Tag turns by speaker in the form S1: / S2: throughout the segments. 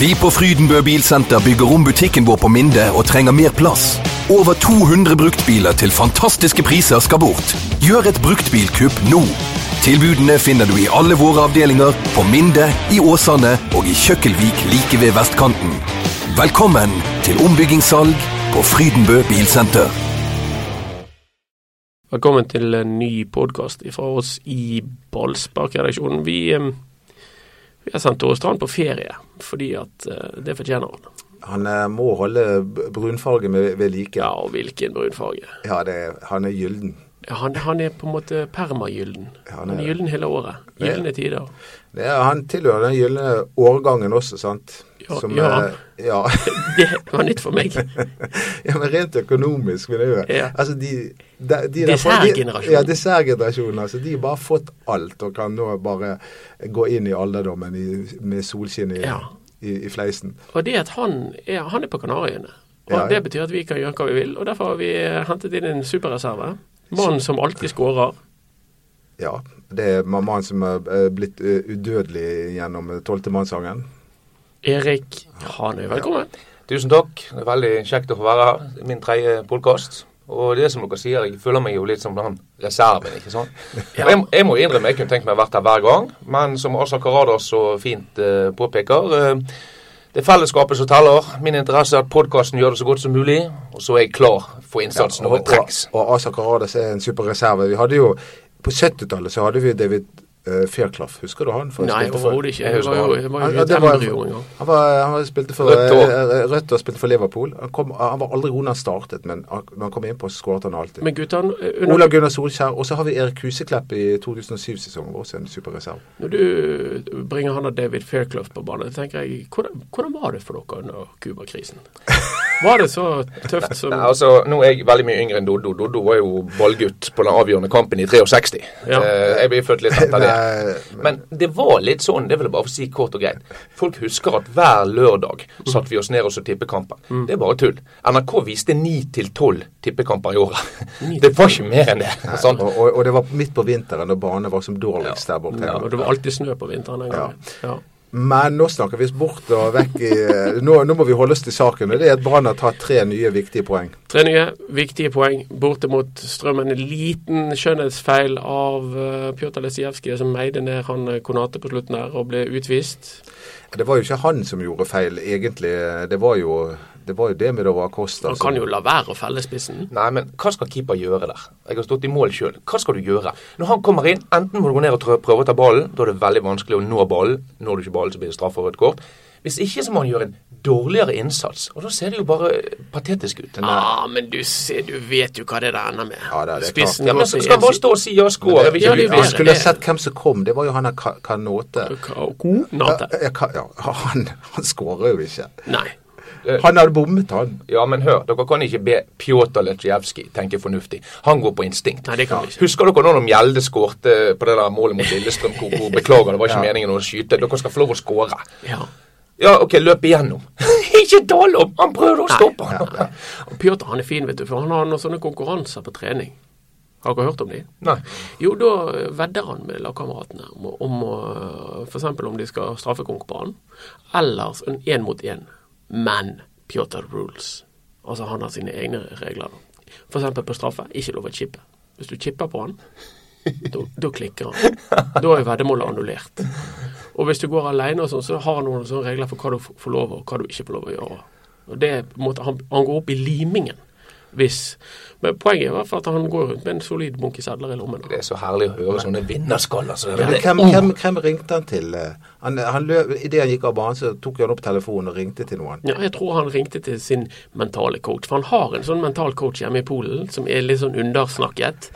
S1: Vi på Frydenbø Bilsenter bygger om butikken vår på Minde og trenger mer plass. Over 200 bruktbiler til fantastiske priser skal bort. Gjør et bruktbilkupp nå. Tilbudene finner du i alle våre avdelinger, på Minde, i Åsane og i Kjøkkelvik like ved vestkanten. Velkommen til ombyggingssalg på Frydenbø Bilsenter.
S2: Velkommen til en ny podkast fra oss i Ballsparkredaksjonen. Vi, eh, vi har sendt Åre Strand på ferie fordi at eh, det fortjener han.
S3: Han eh, må holde b- brunfargen ved, ved like.
S2: Ja, og hvilken brunfarge.
S3: Ja, det, er- han er gylden.
S2: Ja, Han, han er på en måte permagylden.
S3: Ja, han
S2: Han
S3: er
S2: er
S3: det.
S2: gyllen hele året.
S3: Det er-
S2: Gylne tider.
S3: Det er, han tilhører den gylne årgangen også, sant?
S2: Ja, gjør han?
S3: eh, ja.
S2: Det var nytt for meg.
S3: ja, men rent økonomisk, vil jeg gjøre.
S2: Ja.
S3: Altså, de, de, de
S2: Dessertgenerasjonen.
S3: Ja, dessertgenerasjonen. Altså, de har bare fått alt og kan nå bare gå inn i alderdommen i, med solskinn i,
S2: Ja.
S3: i, i fleisen.
S2: Og det at han er, han er på Kanariøyene. Og
S3: Ja, ja.
S2: Det betyr at vi kan gjøre hva vi vil, og derfor har vi eh, hentet inn en superreserve. Mannen som alltid skårer.
S3: Ja. Det er mannen som er eh, blitt eh, udødelig gjennom tolvtemannssangen.
S2: Erik Hanøy, velkommen.
S4: Tusen takk. Det er veldig kjekt å få være her. Min tredje podkast. Og det er som dere sier, jeg føler meg jo litt som den reserven, ikke sant. Og Jeg, jeg må innrømme, jeg kunne tenkt meg å vært her hver gang, men som Asa Karadas så fint eh, påpeker eh, Det er fellesskapet som teller. Min interesse er at podkasten gjør det så godt som mulig, og så er jeg klar for innsatsen over treks.
S3: Og, og Asa Karadas er en superreserve. Vi hadde jo, På 70-tallet så hadde vi David uh, Fairclough. Husker du han? For han
S2: Nei,
S3: spilte for-
S2: overhodet ikke.
S4: Jeg
S2: Jeg
S4: husker
S2: var jo,
S4: han.
S2: jeg var
S3: Han,
S2: jo
S3: ja,
S2: i
S3: det var,
S2: Temperjo en gang.
S3: han, var, han var spilte for
S4: Rødt
S3: Rødt
S4: og-
S3: og, Rødt og spilte for Liverpool. Han, kom, han var aldri god når han startet, men han, når han kom inn på, så skåret han alltid.
S2: Men guttene, eh,
S3: Ola
S2: under,
S3: Gunnar Solskjær, og så har vi Erik Huseklepp i 2007-sesongen vår, som en superreserve.
S2: når du bringer han og David Fairclough på banen, tenker jeg hvordan, hvordan var det for dere under Cuba-krisen? Var det så tøft som
S4: Nei, altså, Nå er jeg veldig mye yngre enn Doddo. Doddo var jo ballgutt på den avgjørende kampen i 63.
S2: Ja.
S4: Eh, Jeg ble født litt etter det.
S3: Nei,
S4: Men det var litt sånn, det vil jeg bare få si kort og greit. Folk husker at hver lørdag satt vi oss ned og så tippekampen.
S2: Mm.
S4: Det er bare tull. NRK viste 9-12 tippekamper i året. Det var ikke mer enn det. Sånn. sant?
S3: og, og, og det var midt på vinteren, da banen var som dårligst der borte.
S2: ja, og Det var alltid snø på vinteren den gangen. Ja.
S3: Men nå snakker vi oss bort og vekk i eh, nå, nå må vi holde oss til saken. og Det er at Brann har tatt tre nye viktige poeng.
S2: Tre nye viktige poeng borte mot strømmen. En liten skjønnhetsfeil av uh, Pjotr Lesijevskij som meide ned han eh, Konate på slutten der og ble utvist.
S3: Det var jo ikke han som gjorde feil, egentlig. Det var jo det, var jo det med Dova Costa.
S2: Han kan jo la være å felle spissen.
S4: Nei, men hva skal keeper gjøre der? Jeg har stått i mål sjøl. Hva skal du gjøre? Når han kommer inn, enten må du gå ned og trø- prøve å ta ballen. Da er det veldig vanskelig å nå ballen. Når du ikke ballen, så blir det straff og rødt kort. Hvis ikke, så må han gjøre en dårligere innsats. Og da ser det jo bare patetisk ut.
S2: Ah, men du, ser, du vet jo hva det der ender med.
S3: Ja, det er- det er
S2: spissen
S4: Ja, men
S2: går
S4: så
S2: til
S4: skal han bare
S2: én
S4: stå og si ja, score. Jeg vil
S2: Ja, det er
S4: ikke
S2: jo
S4: bli
S3: Han
S2: bedre.
S3: skulle ha sett hvem som kom. Det var jo han der Ka- Kanote.
S2: side. Konate.
S3: Ja, Ka- ja, han, han skårer jo ikke.
S2: Nei. Eh.
S3: Han hadde bommet, han.
S4: Ja, men hør, dere kan ikke be Pjotr Letsjevskij tenke fornuftig. Han går på instinkt.
S2: Nei, det kan vi ikke.
S4: Husker dere nå når Mjelde skårte på det der målet mot Lillestrøm? Hvor, hvor beklager, det var ikke meningen å skyte. Dere skal få lov å skåre.
S2: Ja.
S4: Ja, OK, løp igjennom. ikke dal om! Han prøvde å stoppe han.
S2: Pjotr han er fin, vet du, for han har noen sånne konkurranser på trening. Har dere hørt om de?
S4: Nei.
S2: Jo, da eh, vedder han med lagkameratene om, å- om å F.eks. om de skal straffekonk på han. Eller en én mot én. Men Pjotr rules. Altså han har sine egne regler. F.eks. på straffe. Ikke lov å chippe. Hvis du chipper på han, da da klikker han. Da er veddemålet annullert. Og hvis du går alene og sånn, så har han noen sånne regler for hva du f- får lov og hva du ikke får lov å gjøre. Og det er på en måte, han, han går opp i limingen hvis Men poenget er i hvert fall at han går rundt med en solid bunke sedler i lommen.
S4: Det er så herlig å høre sånne vinnerskaller. Så det,
S3: Men
S4: det,
S3: hvem, hvem, hvem ringte han til? Eh, Han, han løp, I det han gikk av banen, så tok han opp telefonen og ringte til noen.
S2: Ja, jeg tror han ringte til sin mentale coach, for han har en sånn mental coach hjemme i Polen som er litt sånn undersnakket.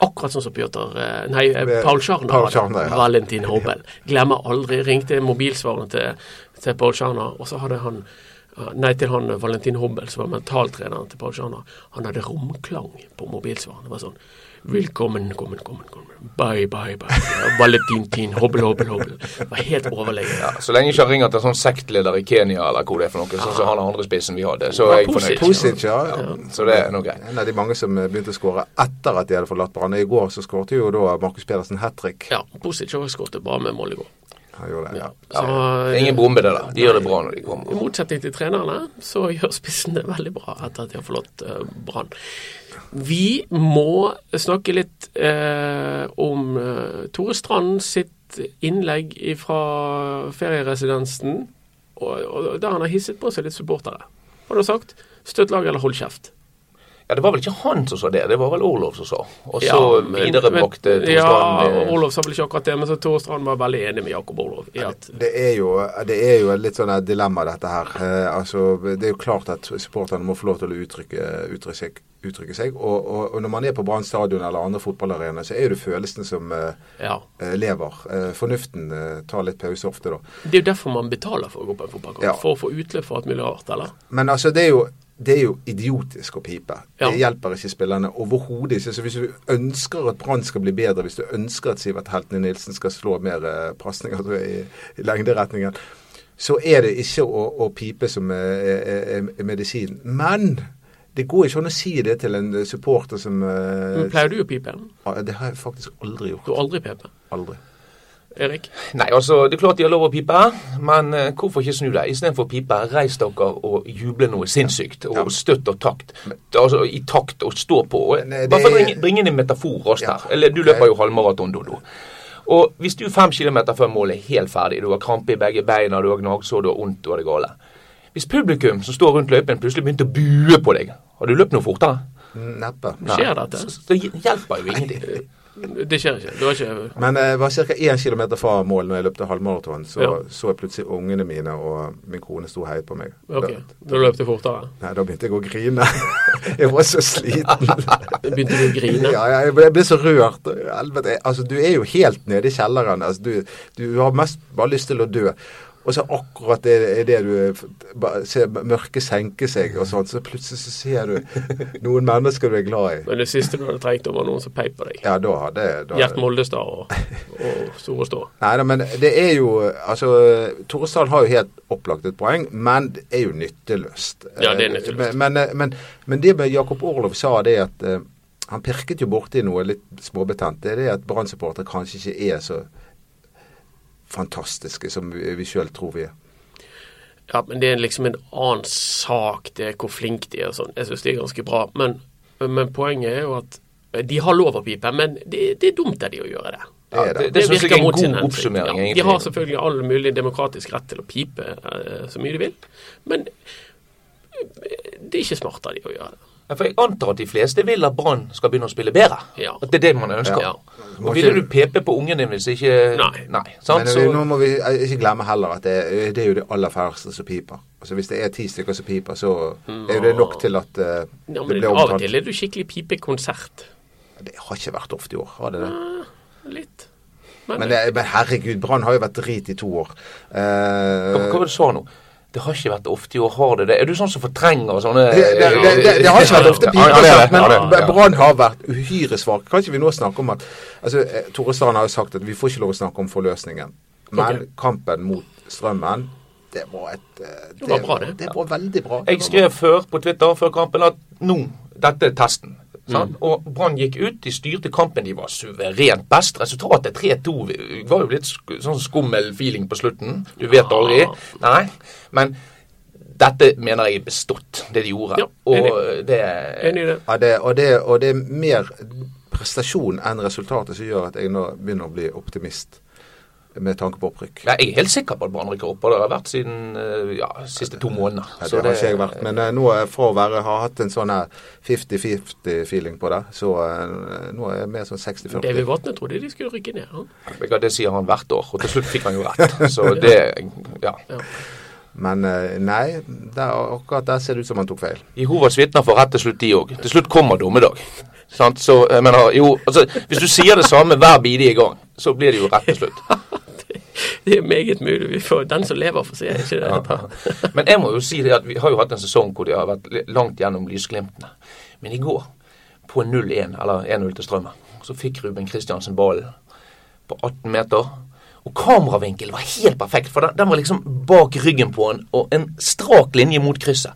S2: Akkurat sånn som Pjotr eh, Nei, eh,
S3: Med-
S2: Paul Scharner.
S3: Paul
S2: var det.
S3: Scharner, ja.
S2: Valentin Hobel. Glemmer aldri. Ringte mobilsvareren til, til Paul Scharner, og så hadde han eh, Nei, til han eh, Valentin Hobel, som var mentaltreneren til Paul Scharner. Han hadde romklang på mobilsvareren. Det var sånn Velkommen, kommen, kommen, kommen. Bye, bye, bye. Valentin, tin, hobel, hobel, hobel. Det var helt overlegen.
S4: ja, så lenge ikke han ringer til en sånn sektleder i Kenya eller hvor det er for noe, sånn som han andre spissen vi hadde, så er jeg
S2: Positivt.
S4: fornøyd.
S3: Pusic, ja.
S4: Så det er nå greit.
S3: En av de mange som eh, begynte å skåre etter at de hadde forlatt Brann. I går så skårte jo da Markus Pedersen hat trick.
S2: Ja, Posic også skåret bra med mål i går.
S3: Han gjorde det.
S2: Ja.
S4: Ja.
S2: Så,
S4: Ingen bombe, det der. De gjør det bra når de
S2: I
S4: kommer.
S2: motsetning til trenerne, så gjør spissen det veldig bra etter at de har forlatt eh, Brann. Vi må snakke litt eh, om eh, Tore Strand sitt innlegg fra ferieresidensen, og, og, der han har hisset på seg litt supportere. Han har sagt 'støtt laget eller hold kjeft'.
S4: Ja, Det var vel ikke han som sa det, det var vel Olov som sa. Og så
S2: Ja, men-
S4: viderebrakte
S2: men-
S4: Tore
S2: Ja,
S4: Strand eh,
S2: Olof sa vel ikke akkurat det, men så Tore Strand var veldig enig med Jakob Olof i at
S3: Det er, jo, det er jo et litt sånn et dilemma, dette her. Eh, altså, det er jo klart at supporterne må få lov til å uttrykke, uttrykke seg. Uttrykke seg. Og, og, og når man er på Brann stadion eller andre fotballarenaer, så er jo det følelsen som eh,
S2: ja.
S3: eh, lever. Eh, fornuften eh, tar litt pause ofte, da.
S2: Det er jo derfor man betaler for å gå på en fotballkamp.
S3: Ja.
S2: For å få utløp for alt mulig rart, eller?
S3: Men altså, det er jo, det er jo idiotisk å pipe.
S2: Ja.
S3: Det hjelper ikke spillerne overhodet ikke. Så hvis du ønsker at Brann skal bli bedre, hvis du ønsker at Sivert Heltene Nilsen skal slå mer eh, pasninger tror jeg, i, i lengderetningen, så er det ikke å, å pipe som eh, er, er, er, er medisin. Men det går ikke an å si det til en supporter som eh,
S2: Men pleier du å pipe?
S3: Ja, Det har jeg faktisk
S2: Du
S3: aldri gjort.
S2: har aldri pipet?
S3: Aldri.
S2: Erik?
S4: Nei, altså, det er klart de har lov å pipe, men eh, hvorfor ikke snu deg? Istedenfor å pipe, reis dere og juble noe sinnssykt. Og
S3: Ja.
S4: støtt og takt. Altså, I takt og stå på. Og,
S3: Nei, eh, det
S4: hvert fall
S3: er-
S4: bring, bring inn en metafor raskt
S3: Ja,
S4: her. Eller du
S3: ok.
S4: løper jo halvmaraton, Dodo. Og hvis du er fem kilometer før målet er helt ferdig, du har krampe i begge beina, du har gnagsår, du har vondt, du har det gale. Hvis publikum som står rundt løypen plutselig begynte å bue på deg, har du løpt noe fortere?
S3: Neppe.
S2: Skjer
S4: Nei.
S2: dette?
S4: Så, så det hjelper jo ingenting.
S2: Det skjer ikke. Du har ikke
S3: Men eh, jeg var ca. 1 km fra mål når jeg løpte halvmaraton. Så
S2: Ja.
S3: så jeg plutselig ungene mine, og min kone sto og heiet på meg.
S2: Ok,
S3: Da,
S2: da løp du fortere.
S3: Nei, da begynte jeg å grine. jeg var så sliten.
S2: Begynte du å grine?
S3: Ja, jeg ble, jeg ble så rørt. Helvete. jeg- Altså, du er jo helt nede i kjelleren. Altså, du, du har mest bare lyst til å dø. Og så akkurat det, er det du bare ser mørket senke seg og sånn, så plutselig så ser du noen mennesker du er glad i.
S2: Men det siste du hadde trengt, var noen som peip på deg.
S3: Ja, da hadde jeg da-
S2: Gjert Moldestad og, og Store Stå.
S3: Nei da, men det er jo Altså, Torresdal har jo helt opplagt et poeng, men det er jo nytteløst. Eh,
S2: Ja, det er nytteløst.
S3: Men, men, men, men det med Jakob Orlov sa, det at eh, han pirket jo borti noe litt småbetent. Det er det at Brann-supportere kanskje ikke er så fantastiske som vi, vi sjøl tror vi er.
S2: Ja, men det er liksom en annen sak, det er hvor flink de er og sånn. Jeg syns de er ganske bra, men, men poenget er jo at eh, de har lov å pipe, men det, det er dumt av de å gjøre det.
S3: Det er
S4: Ja,
S3: det.
S4: det- synes jeg er en
S2: mot
S4: god
S2: sin hensikt.
S4: oppsummering, egentlig.
S2: de har selvfølgelig all mulig demokratisk rett til å pipe eh, så mye de vil, men eh, det er ikke smart av de å gjøre det.
S4: Ja, For jeg antar at de fleste vil at Brann skal begynne å spille bedre.
S2: Ja.
S4: At det er det man ønsker.
S2: Ja.
S4: Og ville du pepe på ungen din hvis ikke
S2: Nei.
S4: sant?
S3: Men
S4: Så,
S3: nå må vi eh, ikke glemme heller at det, er- det er jo de aller færreste som piper. Altså Hvis det er ti stykker som piper, så er jo det nok til at eh,
S2: Ja,
S3: det
S2: men
S3: blir
S2: av og
S3: omtalt.
S2: til er du skikkelig pipekonsert.
S3: Det har ikke vært ofte i år, har det det?
S2: Litt.
S3: Men, det, men herregud, Brann har jo vært drit i to år. Eh,
S4: hva, hva var det du sa nå? Det har ikke vært ofte i år, har det det? Er du sånn som fortrenger sånne
S3: det, det, det, det, det har ikke vært ofte
S4: Ja, ja, det er
S3: pipesett,
S4: det. Ja, det er
S3: men
S4: det. Ja.
S3: Brann har vært uhyre svak. Kan ikke vi nå snakke om at altså, eh, Tore Strand har jo sagt at vi får ikke lov å snakke om forløsningen. Men
S2: Ok.
S3: kampen mot Strømmen, det var et eh, Det,
S2: var bra, det.
S3: var veldig bra.
S4: Jeg skrev før på Twitter før kampen at nå, dette er testen.
S2: Mm.
S4: sant? Og Brann gikk ut, de styrte kampen, de var suverent best. Resultatet 3-2 var jo litt sk sånn skummel feeling på slutten. Du vet aldri.
S2: Ja.
S4: Nei. Men dette mener jeg er bestått, det de gjorde.
S2: Ja,
S4: og
S2: enig.
S4: det
S2: eh, Enig i det.
S3: Ja, det, og, det, og det er mer prestasjon enn resultatet som gjør at jeg nå begynner å bli optimist med tanke på opprykk.
S4: Nei, Jeg er helt sikker på at Brann rykker opp, og det har vært siden eh, ja, siste to måneder.
S3: Nei,
S4: Så
S3: det har ikke jeg vært. Men eh, nå eh, fra å være, har hatt en sånn her 50-50-feeling på det, så eh, nå er jeg mer sånn 60-40.
S2: David Vatne trodde de skulle rykke ned. Han.
S4: eh, Det sier han hvert år, og til slutt fikk han jo rett. Så det Ja.
S3: Men eh, nei, der, akkurat der ser det ut som han tok
S4: Eh,
S3: feil.
S4: Jehovas vitner får rett til slutt, de òg. Til slutt kommer dommedag. Sant? Så jeg mener, jo, altså, Hvis du sier det samme hver bidige gang, så blir det jo rett til slutt.
S2: Det er meget mulig. Vi får den som lever, får se. Ikke det?
S4: Ja. Men jeg må jo si det at vi har jo hatt en sesong hvor de har vært li- langt gjennom lysglimtene. Men i går, på 0-1, eller 1-0 til Strømmen, så fikk Ruben Kristiansen ballen på 18 meter. Og kameravinkelen var helt perfekt, for den, den var liksom bak ryggen på en, og en strak linje mot krysset.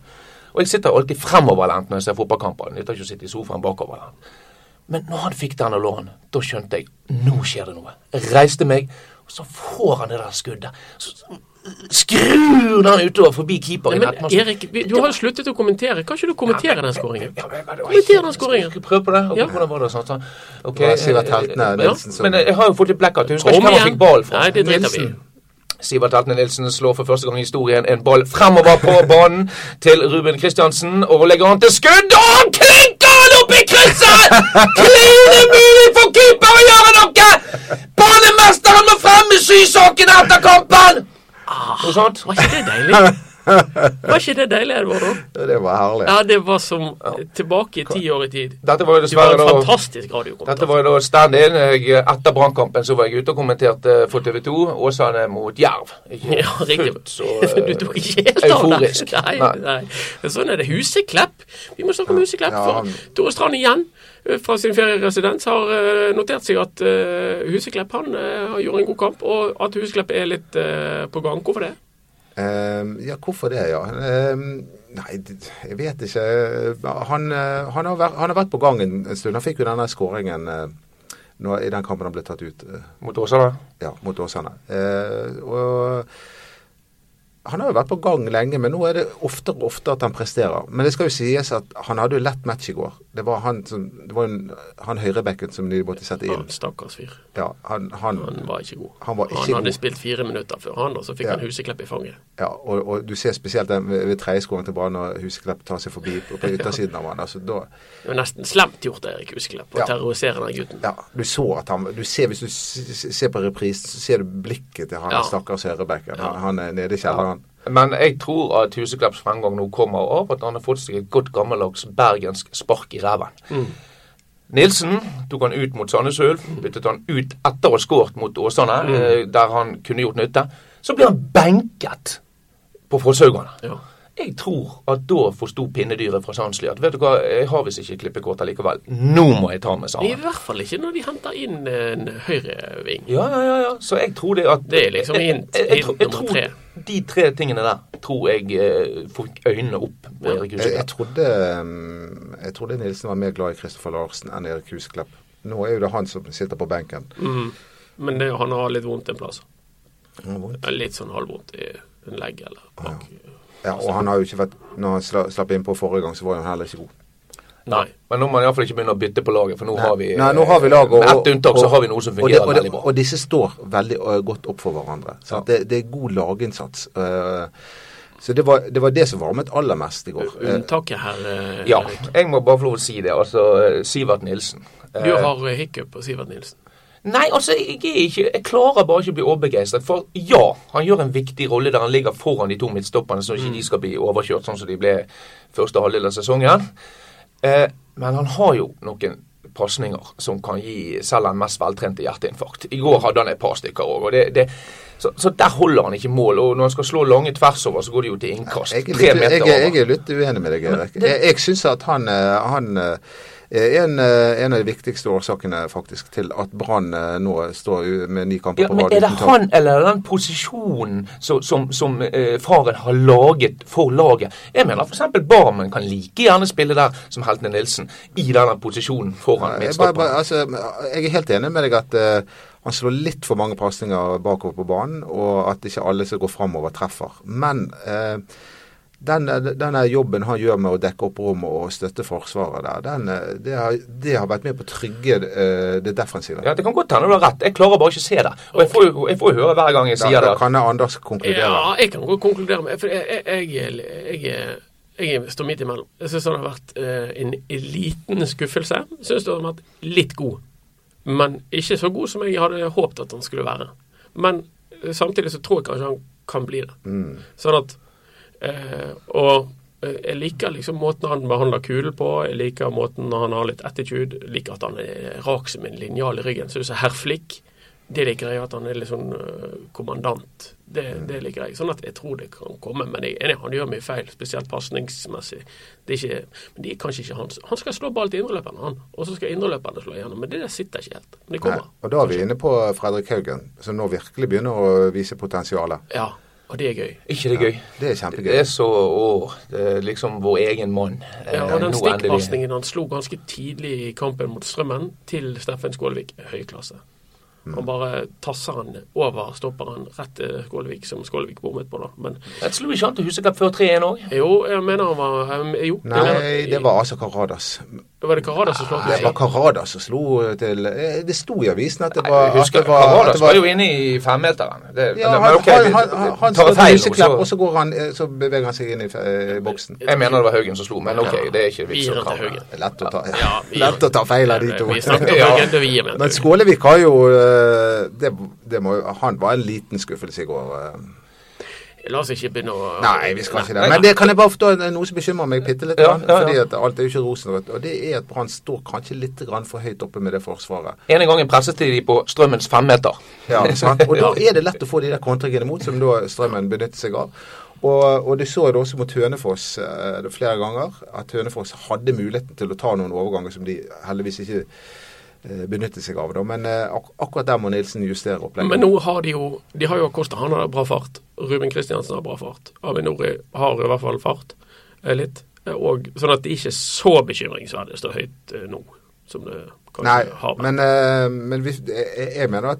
S4: Og jeg sitter jo alltid fremoverlent når jeg ser fotballkamper. Det nytter ikke å sitte i sofaen bakoverlent. Men når han fikk den og lå han, da skjønte jeg nå skjer det noe. Jeg reiste meg, Så får han det der skuddet. Så skrur han utover forbi
S2: Nei,
S4: keeperen. i
S2: men
S4: nettmassen.
S2: Erik, vi- du har jo sluttet å kommentere. Kan ikke du kommentere den skåringen?
S4: Ja, men- men det var
S2: Kommenter
S4: ikke-
S2: den scoringen.
S4: Skal vi prøve på det? Og
S2: Ja.
S4: Hvordan var det? og Sånt, sånn? Ok,
S3: Det var Sivert
S4: eh,
S3: Heltene
S4: eh,
S3: Nilsen som-
S4: Men eh, jeg har jo fått litt blackout. Jeg husker ikke hvem han fikk ball fra.
S2: Nei, det driter vi i.
S4: Sivert Heltene Nilsen slår for første gang i historien en ball fremover på banen til Ruben Kristiansen og legger han til skudd, og han klinker han opp i krysset! Klin umulig for keeper å gjøre noe! Banemesteren må fremme sysakene etter kampen! Noe sånt?
S2: Var ikke det deilig? Var ikke det deilig, Edvard?
S3: Ja, Det var herlig.
S2: Ja, det var som tilbake i ti år i tid.
S4: Dette var jo
S2: Du var
S4: dessverre
S2: en
S4: da
S2: fantastisk
S4: Dette
S2: radiokommentator.
S4: var jo da stand-in. Jeg, Etter Brannkampen så var jeg ute og kommenterte for TV 2 Åsane mot Jerv. Ikke
S2: Ja, riktig.
S4: fullt så eh,
S2: Du tok ikke helt av
S4: euforisk.
S2: der. Nei, nei. Men sånn er det. Huseklepp. Vi må snakke om Huseklepp.
S3: Ja,
S2: For
S3: han-
S2: Tore Strand igjen eh, fra sin ferieresidens har eh, notert seg at eh, Huseklepp han eh, har gjort en god kamp, og at Huseklepp er litt eh, på gang. Hvorfor det?
S3: Ehm, ja, hvorfor det, ja. Ehm, nei, det- jeg vet ikke. Han, eh, han, har, vært, han har vært på gang en, en stund. Han fikk jo denne skåringen eh, nå i den kampen han ble tatt ut eh,
S4: mot Åsane.
S3: ja, mot Åsane. Eh, og han har jo vært på gang lenge, men nå er det oftere og oftere at han presterer. Men det skal jo sies at han hadde jo lett match i går. Det var han, som, det var en, han høyrebekken som de måtte sette
S2: Han
S3: inn.
S2: stakkars fyr.
S3: Ja, han, han,
S2: Han var ikke god.
S3: Han var ikke
S2: han hadde
S3: god.
S2: spilt fire minutter før han, og så fikk
S3: Ja.
S2: han Huseklepp i fanget.
S3: Ja, og, og du ser spesielt den ved, ved tredje skåring til Brann når Huseklepp tar seg forbi på, på yttersiden av han. Altså, da,
S2: Det var nesten slemt gjort, Erik Huseklepp, å
S3: Ja.
S2: terrorisere den gutten.
S3: ja, du så at han du ser, Hvis du s- s- ser på reprisen, så ser du blikket til han
S2: Ja.
S3: stakkars høyrebacken. Han, han er nede i kjelleren.
S4: Men jeg tror at Huseklepps fremgang nå kommer av at han har fått seg et godt gammeldags bergensk spark i ræven. Nilsen tok han ut mot Sandnes Ulf, byttet han ut etter å ha skåret mot Åsane, eh, der han kunne gjort nytte. Så ble han benket på Fosshaugane.
S2: Ja.
S4: Jeg tror at da forsto pinnedyret fra Sandsli at vet du hva, jeg har visst ikke klippekort allikevel. Nå må jeg ta meg
S2: I
S4: sammen.
S2: hvert fall ikke når de henter inn en høyreving.
S4: Ja, ja, ja, ja. Så jeg tror det at
S2: Det er liksom hint-
S4: Jeg- jeg- jeg
S2: hint
S4: tror- jeg
S2: nummer
S4: tror
S2: tre.
S4: De tre tingene der tror jeg eh, fikk øynene opp på Erik
S3: Jeg, jeg,
S4: Huseklepp.
S3: trodde, mm, jeg trodde Nilsen var mer glad i Kristoffer Larsen enn Erik Huseklepp. Nå er jo det han som sitter på benken.
S2: Men det, han har litt vondt en plass.
S3: Han har vondt.
S2: Litt sånn halvvondt i en legg eller bak.
S3: Ja, og han har jo ikke vært Når han sla- slapp innpå forrige gang, så var han heller ikke god.
S2: Nei.
S4: Men nå må man iallfall ikke begynne å bytte på laget, for nå har vi eh,
S3: Nei, nå har vi laget,
S4: Med ett unntak så har vi noe som
S3: og det-
S4: fungerer
S3: og det-
S4: veldig bra.
S3: Og disse står veldig ø, godt opp for hverandre. sant? Det, det er god laginnsats. eh, så det var, det var det som varmet aller mest i går. Eh,
S2: Unntaket her eh,
S4: Ja,
S2: Erik.
S4: jeg må bare få lov å si det. Altså, eh, Sivert Nilsen. Eh,
S2: Du har eh, hiccup på Sivert Nilsen.
S4: Nei, altså, jeg, er ikke, jeg klarer bare ikke å bli overbegeistret. For ja, han gjør en viktig rolle der han ligger foran de to midtstopperne, så
S3: Mm.
S4: ikke de skal bli overkjørt, sånn som de ble første halvdel av sesongen. Eh, men han har jo noen pasninger som kan gi selv den mest veltrente hjerteinfarkt. I går hadde han et par stykker òg, og det, det så, så der holder han ikke mål. Og når han skal slå lange tvers over, så går det jo til innkast.
S3: Jeg er
S4: Tre
S3: litt,
S4: meter
S3: jeg, er- jeg
S4: over.
S3: er litt uenig med deg, Erik. Jeg, jeg syns at han, eh, han eh, er en, eh, en av de viktigste årsakene faktisk til at Brann eh, nå står u- med ni kamper
S4: Ja,
S3: på
S4: men
S3: rad
S4: er det
S3: uten tap.
S4: han eller den posisjonen som, som, som eh, faren har laget for laget? Jeg mener f.eks. Barmen kan like gjerne spille der som Heltene Nilsen, i denne posisjonen foran
S3: Jeg, bare, bare,
S4: midtstopperen.
S3: altså, jeg er helt enig med deg at eh, han slår litt for mange pasninger bakover på banen, og at ikke alle som går framover, treffer. Men eh, den, denne jobben han gjør med å dekke opp rommet og støtte Forsvaret der, den, eh, det, har, det har vært med på å trygge eh, det defensive.
S4: Ja, Det kan godt hende du har rett, jeg klarer bare ikke å se det. Og jeg får jo jeg får jo høre hver gang jeg
S3: da,
S4: sier det.
S3: da kan Anders konkludere.
S2: Ja, jeg kan godt konkludere med For jeg, jeg, jeg, jeg, jeg står midt imellom. Jeg syns han har vært eh, en liten skuffelse. Syns han har vært litt god, men ikke så god som jeg hadde håpet at han skulle være. Men eh, samtidig så tror jeg kanskje han kan bli det. Sånn at eh, Og eh, jeg liker liksom måten han behandler kulen på, jeg liker måten han har litt attitude, jeg liker at han er rak som en linjal i ryggen, så det er så herflikk. Det liker jeg, at han er litt sånn øh, kommandant. Det,
S3: Mm.
S2: det liker jeg. Sånn at jeg tror det kan komme, men jeg er enig, han gjør mye feil, spesielt pasningsmessig. Det er ikke, men det er kanskje ikke hans. Han skal slå ball til indreløperne, han, og så skal indreløperne slå igjennom. Men det der sitter ikke helt. Men det
S3: Nei,
S2: kommer.
S3: og da er vi inne på Fredrik Haugen, som nå virkelig begynner å vise potensialet.
S2: Ja, og det er gøy.
S4: ikke det gøy?
S3: Det er kjempegøy.
S4: Det er så å, det er liksom vår egen mann.
S2: Ja,
S4: Eh,
S2: og den
S4: nå endelig.
S2: stikkpasningen han slo ganske tidlig i kampen mot Strømmen, til Steffen Skålvik, høy klasse.
S3: Mm.
S2: Han bare tasser han over stopperen rett til Skålevik, som Skålevik bommet på, da. Men
S4: Jeg slo ikke an til Huseklepp før 3-1 òg.
S2: jo, jeg mener han var um, Jo. jeg
S3: Nei,
S2: mener-
S3: det var altså Karadas.
S2: Det var det Karada som slapp
S3: Det var Karadas som slo til eh, Det sto i avisen at det var
S4: Jeg husker
S3: at det var, at
S4: Karadas
S3: det
S4: var jo inne i femmeteren. Det-
S3: ja,
S4: men
S3: han,
S4: ok, vi-
S3: han, han,
S4: vi
S3: han
S4: tar
S3: står
S4: feil
S3: til
S4: nå,
S3: Huseklepp,
S4: så-
S3: og så, går han, eh, så beveger han seg inn i eh, boksen.
S4: Jeg mener det var Haugen som slo, men ok, det er ikke vits
S2: Gir han
S4: å
S2: til
S4: krangle.
S2: Haugen.
S3: Det er Lett å ta,
S2: Ja, vi-
S3: lett å ta feil av de to.
S2: Vi snakker om
S4: Ja.
S2: Haugen, det vi gir med.
S3: Men Skålevik har jo eh, det, det må, jo- Han var en liten skuffelse i går. eh.
S2: La oss ikke begynne å
S3: Nei, vi skal ikke det.
S4: Nei.
S3: Men det kan jeg bare forstå er noe som bekymrer meg bitte litt.
S4: Ja, ja, ja.
S3: Fordi at alt er jo ikke rosenrødt. Og det er at Brann står kanskje litt grann for høyt oppe med det forsvaret.
S4: En gang presset de på Strømmens femmeter.
S3: Ja, sant? Og da er det lett å få de der kontringene mot, som da Strømmen benytter seg av. Og, og du så det også mot Hønefoss eh, det flere ganger, at Hønefoss hadde muligheten til å ta noen overganger som de heldigvis ikke eh, benyttet seg av. Da. Men eh, ak akkurat der må Nilsen justere opplegget.
S2: Men nå har de jo De har jo Acosta, han har bra fart. Ruben Kristiansen har bra fart. Avinori har i hvert fall fart. eh, Litt. Eh, Og, sånn at det ikke er så bekymringsverdig å stå høyt eh, nå som det kanskje
S3: Nei,
S2: har vært.
S3: men, eh, men vi, jeg, jeg mener at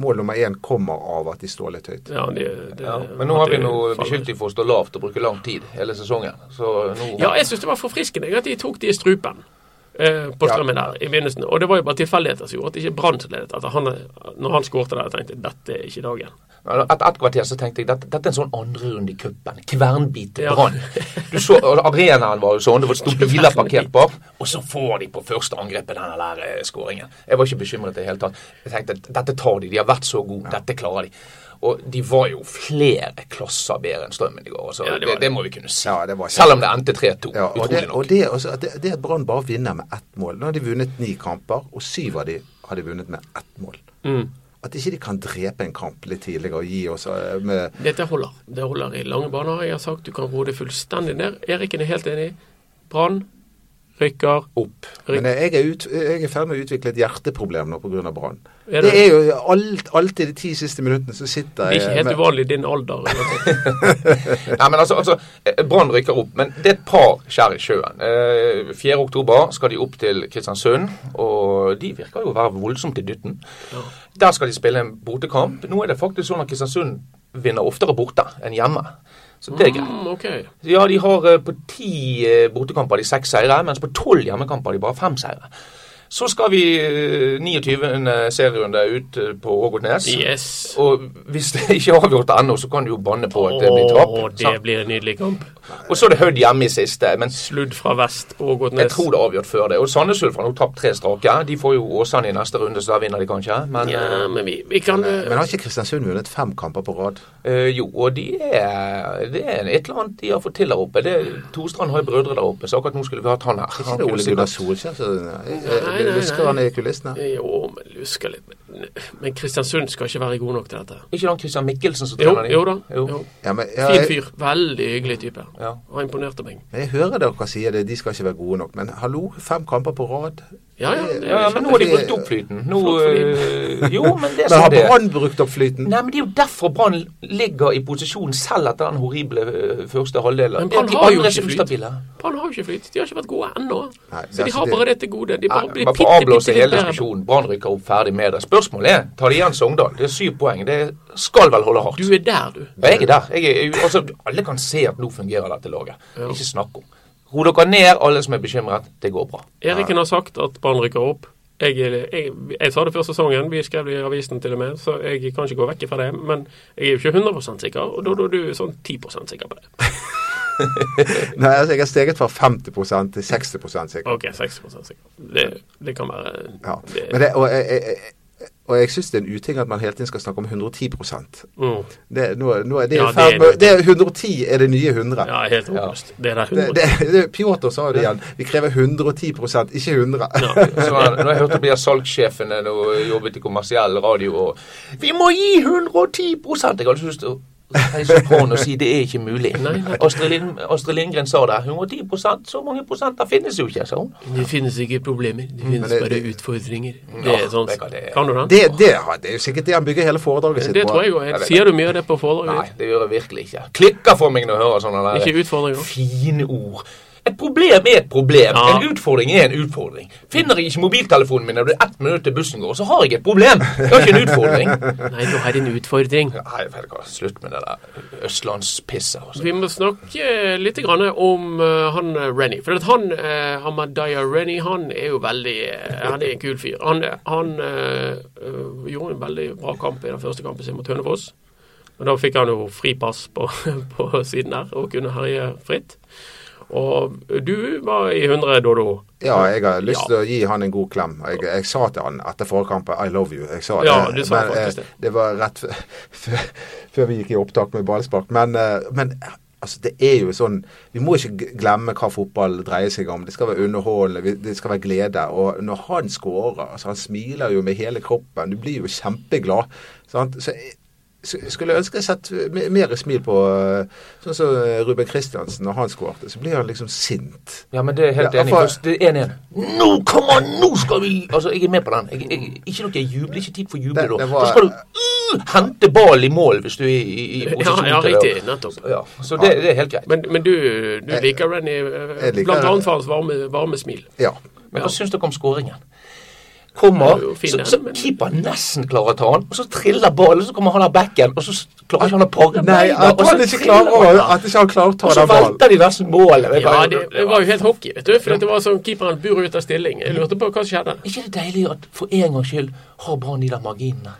S3: mål nummer én kommer av at de står litt høyt.
S2: Ja, de, det-
S4: Ja, men nå har
S2: at
S4: vi
S2: det
S4: nå
S2: faller.
S4: beskyldt dem for å stå lavt og bruke lang tid hele sesongen. Så nå
S2: Ja, jeg syns det var forfriskende jeg, at de tok de i strupen eh, på strømmen der i begynnelsen. Og det var jo bare tilfeldigheter som gjorde at ikke Brann ledet. At han, når han skårte der, jeg tenkte dette er ikke dagen.
S4: Etter et kvarter så tenkte jeg dette, dette er en sånn andre runde i cupen. Kvernbit til
S2: Ja.
S4: Brann. Du så, og Arenaen var jo sånn, det var sto biler parkert bak, og så får de på første angrepet denne der eh, skåringen. Jeg var ikke bekymret i det hele tatt. Jeg tenkte dette tar de, de har vært så gode, dette klarer de. Og de var jo flere klasser bedre enn Strømmen i går. Altså,
S2: Ja, det
S4: det,
S2: var
S4: det,
S2: det.
S4: må vi kunne si.
S3: Ja, det var kjempe-
S4: Selv om det endte 3-2.
S3: Ja, og
S4: utrolig
S3: det,
S4: nok.
S3: og det, er også, at det, det at Brann bare vinner med ett mål. Nå har de vunnet ni kamper, og syv av de har de vunnet med ett mål.
S4: Mm.
S3: At ikke de kan drepe en kamp litt tidligere og gi oss eh, med
S2: Dette holder. Det holder i lange baner. Jeg har sagt du kan roe det fullstendig ned. Eriken er helt enig. Brann rykker
S4: Opp.
S3: Men eh, jeg er, ut, jeg er i ferd med å utvikle et hjerteproblem nå pga. Brann.
S2: Er
S3: Det?
S2: det?
S3: er jo alt, alltid de ti siste minuttene så sitter
S2: Det er ikke helt
S3: med-
S2: uvanlig i din alder. eller?
S4: Nei, men altså, altså eh, Brann rykker opp, men det er et par skjær i sjøen. Eh, 4. oktober skal de opp til Kristiansund, og de virker jo å være voldsomt i dytten. Der skal de spille en bortekamp. Nå er det faktisk sånn at Kristiansund vinner oftere borte enn hjemme. Så det er greit.
S2: Mm, ok.
S4: Ja, de har eh, på ti eh, bortekamper har de seks seire, mens på tolv hjemmekamper har de bare fem seire. Så skal vi eh, 29. serierunde ut eh, på Ågotnes.
S2: Yes.
S4: Og hvis det ikke er avgjort ennå, så kan du jo banne på at det blir tap.
S2: Åh, det
S4: sant?
S2: blir en nydelig kamp.
S4: Og så er det Hødd hjemme i siste, men
S2: Sludd fra vest på Ågotnes.
S4: jeg tror det er avgjort før det. Og Sandnes Ulf har nå tapt tre strake. De får jo Åsane i neste runde, så der vinner de kanskje. Men
S2: Ja, men vi, vi kan eh,
S3: Men har ikke Kristiansund vunnet fem kamper på rad?
S4: eh, jo, og de er, det er et eller annet de har fått til der oppe. Det, Tostrand har jo brødre der oppe, så akkurat nå skulle vi hatt han her.
S3: Er ikke
S4: Han
S3: det
S4: kunne
S3: Ole
S4: sikkert-
S3: Gunnar Solskjær som Eh,
S2: nei, nei.
S3: lusker han i kulissene?
S2: eh, Jo, men lusker litt. Men- Men Kristiansund skal ikke være god nok til dette.
S4: Ikke han Christian Mikkelsen som
S2: Jo,
S4: trener de?
S2: jo da. Jo.
S3: Ja, men, ja,
S2: Fin
S3: jeg-
S2: fyr. Veldig hyggelig type.
S4: Ja.
S2: Han imponerte meg.
S3: Men Jeg hører dere sier det, de skal ikke være gode nok. Men hallo, fem kamper på rad.
S2: Ja, ja.
S4: Ja, ja, men nå har de brukt opp flyten. Nå, eh, jo, men det
S3: Men har
S4: er sånn det er.
S3: Brann brukt opp flyten?
S4: Nei, men Det er jo derfor Brann ligger i posisjon selv etter den horrible eh, første halvdelen.
S2: Men Brann
S4: De
S2: har jo
S4: andre
S2: ikke
S4: er
S2: flyt.
S4: ustabile.
S2: Brann har jo ikke flyt. De har ikke vært gode ennå.
S3: Nei, det
S2: Så
S3: er
S2: de
S3: altså
S2: har
S3: det-
S2: bare det til gode. De bare
S4: Nei,
S2: blir
S4: Man
S2: bitte,
S4: får avblåse
S2: bitte litt
S4: hele
S2: bedre.
S4: diskusjonen. Brann rykker opp, ferdig med det. Spørsmålet er tar de igjen Sogndal. Det er syv poeng. Det skal vel holde hardt.
S2: Du er der, du.
S4: Og jeg er der. Jeg er, altså, alle kan se at nå fungerer dette laget. Ikke snakk om. Ro dere ned, alle som er bekymret. Det går bra.
S2: Eriken har sagt at Brann rykker opp. Jeg, jeg, jeg sa det før sesongen, vi skrev det i avisen til og med, så jeg kan ikke gå vekk fra det. Men jeg er jo ikke 100 sikker, og da da er du sånn 10 sikker på det.
S3: Nei, altså jeg har steget fra 50 til 60 sikkert.
S2: OK, 6 sikker. Det, det kan være
S3: Ja.
S2: det,
S3: Men det, og jeg, jeg, jeg- og jeg syns det er en uting at man hele tiden skal snakke om 110
S2: mm,
S3: det, nå, nå er det,
S2: Ja,
S3: i
S2: det
S3: ferd
S2: er
S3: med-
S2: det.
S3: det er 110 er det nye 100.
S2: Ja, helt håpløst. Det er der
S3: Det,
S2: 100
S3: det, det, Piotr sa det igjen. Vi krever 110 ikke 100.
S2: Ja.
S4: Så han- når jeg hørte bli salgssjefen eh, nå jobbet i kommersiell radio og Vi må gi 110 Jeg hadde så lyst til å reise opp hånden og si det er ikke mulig.
S2: Nei, nei.
S4: Astrid, Lind, Astrid Lindgren sa det. 110 så mange prosenter finnes jo ikke, sa hun.
S2: Det finnes ikke problemer, det finnes
S3: det-
S2: bare
S3: det-
S2: utfordringer. Det
S4: Ja,
S2: er sånn.
S4: det kan det-
S2: Kan du den?
S3: Det, det, har- det er jo sikkert det han bygger hele foredraget sitt
S2: Det
S3: på.
S2: tror jeg
S4: Jeg
S2: òg.
S4: vet
S2: Sier du mye av det på foredraget?
S4: Nei, det gjør jeg virkelig ikke. Klikker for meg når jeg hører sånne der
S2: Ikke utfordringer.
S4: fine ord. Et problem er et problem.
S2: Ja.
S4: En utfordring er en utfordring. Finner jeg ikke mobiltelefonen min når det er ett minutt til bussen går, så har jeg et problem. Jeg har ikke en utfordring.
S2: Nei, nå har jeg en utfordring.
S4: Nei, vet du hva. Slutt med det der østlandspisset. Altså.
S2: Vi må snakke eh, litt grann om eh, han eh, Rennie. For at han eh, Hamadaya Rennie, han er jo veldig eh, Han er en kul fyr. Han, han eh, eh, gjorde en veldig bra kamp i den første kampen sin mot Hønefoss. Og da fikk han jo fri pass på, på siden der og kunne herje fritt. Og du var i 100, Dodo.
S3: Ja, jeg har lyst
S2: Ja.
S3: til å gi han en god klem. Jeg, jeg sa til han etter forrige kamp I love you. Jeg sa det.
S2: Ja, du sa
S3: men,
S2: faktisk
S3: eh,
S2: det.
S3: det var rett før- før før vi gikk i opptak med ballspark. Men, eh, men eh, altså, det er jo sånn Vi må ikke g- glemme hva fotball dreier seg om. Det skal være underholdende, vi- det skal være glede. Og når han scorer, altså, han smiler jo med hele kroppen. Du blir jo kjempeglad. Sant? Så jeg- så jeg skulle ønske jeg sett me- mer smil på eh, Sånn som Ruben Kristiansen, når han skårte, så blir han liksom sint.
S4: Ja, men det er helt
S3: Ja,
S4: enig.
S3: for-
S4: Først, det er 1-1. Nå, kom an, nå skal vi Altså, jeg er med på den. Jeg, jeg, ikke noe jubel. Ikke tid for jubel.
S3: Det-
S4: da.
S3: det var-
S4: Da skal du uh, hente ball i mål hvis du er i, i, i
S2: Ja,
S4: posisjon
S2: ja
S4: til det.
S2: riktig. Nettopp.
S4: Ja, så det, det er helt greit.
S2: Men, men du, du liker Rennie, eh,
S3: jeg liker
S2: blant
S3: Rennie.
S2: annet for hans varme, varme smil.
S3: Ja.
S4: Men
S2: Ja.
S4: hva syns dere om skåringen? Kommer,
S2: Det er jo fin
S4: så,
S2: den,
S4: så
S2: men-
S4: keeper nesten klarer å ta han, og så triller ballen, så kommer han av backen, og så s- klarer ikke han å pare
S3: Nei,
S4: beina,
S3: at
S4: og så
S3: han ikke
S4: triller
S3: klarer å
S4: han.
S3: At ikke han klarer å ta
S4: Og så
S3: den ballen.
S4: velter de nesten målet. Det er
S2: Ja,
S4: bare-
S2: det, det var jo helt hockey, vet du. For det var sånn keeperen bur ut av stilling. Jeg lurte på hva som skjedde.
S4: ikke det deilig at for en gangs skyld har Brann de der marginene?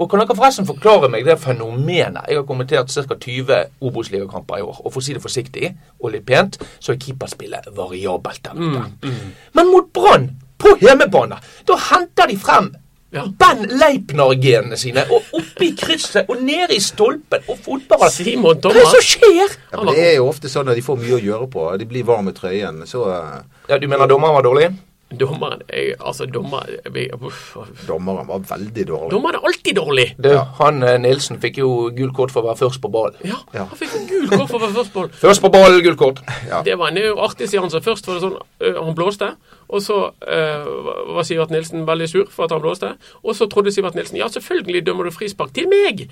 S4: Og Kan dere forresten forklare meg det fenomenet? Jeg har kommentert ca. 20 Obos-ligakamper i år. Og for å si det forsiktig og litt pent, så er keeperspillet variabelt der ute.
S2: Mm,
S4: Men mot Brann, på hjemmebane, da henter de frem
S2: Ja.
S4: Ben Leipner-genene sine. Og oppe i krysset, og nede i stolpen, og fotballen
S2: Simon
S4: Hva er det
S2: Thomas.
S4: som skjer?
S3: Ja, men det er jo ofte sånn at de får mye å gjøre på. De blir varme i trøyen. Så eh,
S4: Ja, Du mener dommeren var dårlig?
S2: Dommeren er altså dommer, vi, uff, uff.
S3: dommeren var veldig dårlig.
S2: dommeren er alltid dårlig!
S4: Du, Han eh, Nilsen fikk jo gult kort for å være først på ballen.
S2: Ja,
S3: Ja.
S2: Han fikk en gul kort for hver første ball.
S4: Først på ballen, gult kort.
S3: Ja.
S2: Det var en jo artig seanse. Først var det sånn øh, han blåste, og så øh, var Sivert Nilsen veldig sur for at han blåste. Og så trodde Sivert Nilsen ja, selvfølgelig dømmer du frispark til meg!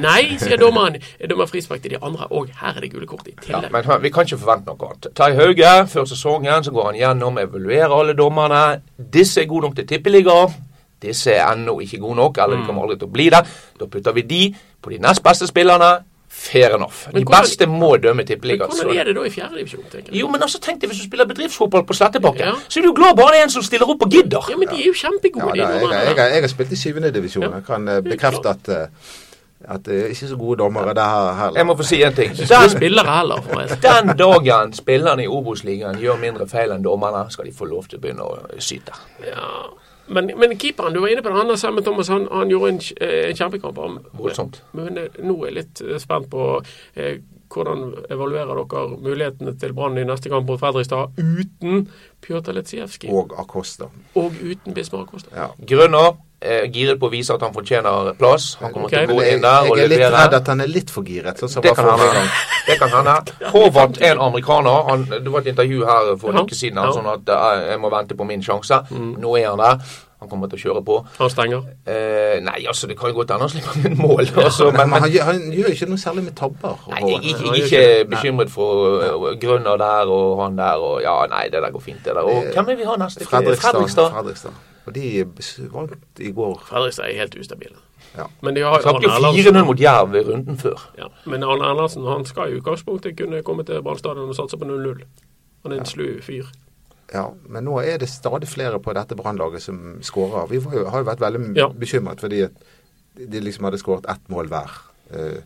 S2: Nei, sier dommeren. Jeg dømmer frispark til de andre, og her er det gule kort i
S4: Ja,
S2: tillegg.
S4: men hør, vi kan ikke forvente noe annet. Tai Hauge, før sesongen så går han gjennom, evaluerer alle dommerne. Disse er gode nok til tippeliga. Disse er ennå ikke gode nok,
S2: Mm.
S4: eller de kommer aldri til å bli det. Da putter vi de på de nest beste spillerne. Fair enough.
S2: Men
S4: De
S2: hvordan-
S4: beste må dømme
S2: Men
S4: tippeliga.
S2: hvordan er det da i fjerde divisjon, tenker jeg?
S4: Jo, men altså, tenk deg hvis du spiller bedriftsfotball på Slettebakken.
S2: Ja.
S4: Så er du jo glad bare det er en som stiller opp og gidder.
S2: Ja, men de er jo
S3: Ja,
S2: kjempegode,
S3: da, jeg,
S2: de
S3: jeg, jeg,
S2: dommerne.
S3: jeg har spilt i syvende divisjon. Jeg kan eh, bekrefte at eh, at det er ikke så gode dommere der her
S4: Jeg
S3: heller.
S4: må få si en ting.
S2: De
S4: Den,
S2: spillere heller, forresten.
S4: den dagen spillerne i Obos-ligaen gjør mindre feil enn dommerne, skal de få lov til å begynne å syte.
S2: Ja, men, men keeperen, du var inne på det, han der Samme Thomas, han, han gjorde en, kj- eh, en kjempekamp. Han-
S4: Voldsomt.
S2: Men eh, nå er jeg litt eh, spent på eh, hvordan evaluerer dere mulighetene til Brann i neste kamp mot Fredrikstad uten Pjotr Letsijevskij
S3: Og Acosta.
S2: og uten Bismar Kosta?
S3: Ja.
S4: Grønner eh, giret på å vise at han fortjener plass. Han kommer
S2: Ok.
S4: til å gå
S3: Men jeg,
S4: inn der og
S3: jeg er litt redd
S4: levere.
S3: at han er litt for giret. Sånn som
S4: Det
S3: var
S4: kan
S3: forrige
S4: hende.
S3: gang.
S4: Det kan hende. Håvard er en amerikaner. Han, det var et intervju her for
S2: Ja.
S4: en uke siden. Han,
S2: Ja.
S4: sånn at eh, jeg må vente på min sjanse. Nå er han der. Han kommer til å kjøre på.
S2: Han stenger.
S4: Eh, nei, altså, det kan jo godt hende han slipper inn mål. Altså,
S3: Men,
S4: men, men
S3: han, gjør- han gjør ikke noe særlig med tabber.
S4: Nei,
S3: Håvard.
S4: jeg, jeg,
S2: Nei,
S4: jeg er ikke bekymret for eh, Grønner der og han der og Ja, nei, det der går fint, det der. Og hvem er vi har neste?
S3: Eh, Fredrikstad. Fredrikstad. Og de vant i går.
S2: Fredrikstad er helt ustabil.
S3: Ja.
S2: Men de har jo
S4: Snakker
S2: Arne
S4: jo
S2: Erlandsen.
S4: 4-0 mot Jerv i runden før.
S2: Ja. Men Arne Erlandsen han skal i utgangspunktet kunne komme til Brann stadion og satse på 0-0. Han er en slu fyr.
S3: Ja, men nå er det stadig flere på dette brannlaget som skårer. Vi var jo, har jo vært veldig
S2: Ja.
S3: bekymret fordi at de liksom hadde skåret ett mål hver. Eh,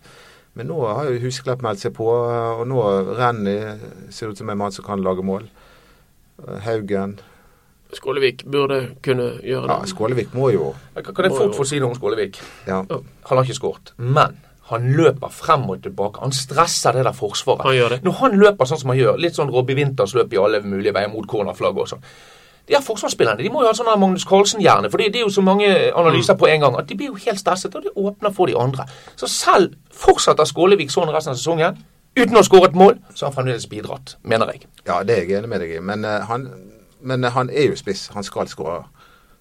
S3: Men nå har jo Huseklepp meldt seg på, og nå Renny ser ut som en mann som kan lage mål. Eh, Haugen
S2: Skålevik burde kunne gjøre
S3: Ja,
S2: det.
S3: Skålevik må jo
S4: Kan kan jeg
S2: Må
S4: fort
S2: jo-
S4: få si noe om Skålevik?
S3: Ja.
S4: Han har ikke skåret, men han løper frem og tilbake. Han stresser det der forsvaret.
S2: Han gjør det.
S4: Når han løper sånn som han gjør, litt sånn Robbie Winters løp i alle mulige veier mot cornerflagget og sånn. De her forsvarsspillerne de må jo ha sånn her Magnus Carlsen-hjerne, for det det er jo så mange
S2: Mm.
S4: analyser på en gang at de blir jo helt stresset, og det åpner for de andre. Så selv fortsetter Skålevik sånn resten av sesongen, uten å ha skåret mål, så har han fremdeles bidratt, mener jeg.
S3: ja, det er jeg enig med deg i. Men, eh, han, men eh, han er jo spiss. Han skal skåre.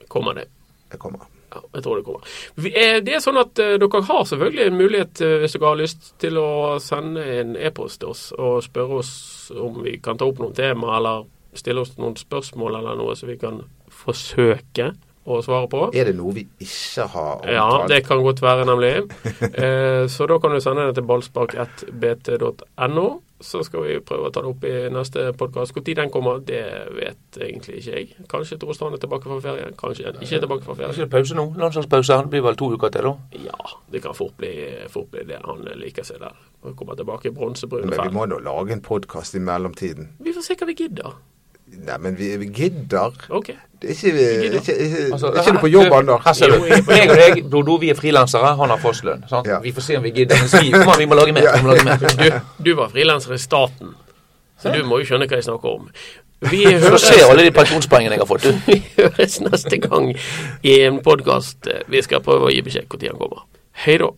S2: Kommer det.
S3: Jeg kommer.
S2: Ja, jeg tror det kommer. Vi, eh, det er sånn at eh, Dere har selvfølgelig en mulighet, eh, hvis dere har lyst, til å sende en e-post til oss og spørre oss om vi kan ta opp noen tema, eller stille oss noen spørsmål eller noe som vi kan forsøke å svare på.
S3: Er det noe vi ikke har omtalt?
S2: Ja, det kan godt være, nemlig. Eh, så da kan du sende det til ballspark1bt.no. Så skal vi prøve å ta det opp i neste podkast. Når den kommer, det vet egentlig ikke jeg. Kanskje Torstrand er tilbake fra ferie, kanskje han ikke er tilbake fra
S4: Er
S2: ferie.
S4: ikke det pause nå? Landslagspause. Han blir vel to uker til, da.
S2: Ja, det kan fort bli, fort bli det. Han liker seg der. Han kommer tilbake i bronsebrun
S3: Men vi
S2: ferd.
S3: må nå lage en podkast i mellomtiden.
S2: Vi får se hva vi gidder.
S3: Nei, men vi, vi gidder.
S2: OK.
S3: Det er ikke,
S2: gidder.
S3: ikke, ikke,
S4: Altså,
S3: er ikke du på jobb, Anders?
S4: Her ser
S2: Jo,
S4: du.
S2: jeg er på
S4: Jeg og deg, Dodo, vi er frilansere. Han har fast lønn. sant?
S3: Ja.
S4: Vi får se om vi gidder. Men vi, kom an, vi må lage mer. Vi må lage mer.
S2: Du, du var frilanser i staten, så du må jo skjønne hva jeg snakker om. Vi
S4: Du får
S2: høres,
S4: se alle de pensjonspoengene jeg har fått, du.
S2: vi høres neste gang i en podkast. Vi skal prøve å gi beskjed når han kommer. Hei da.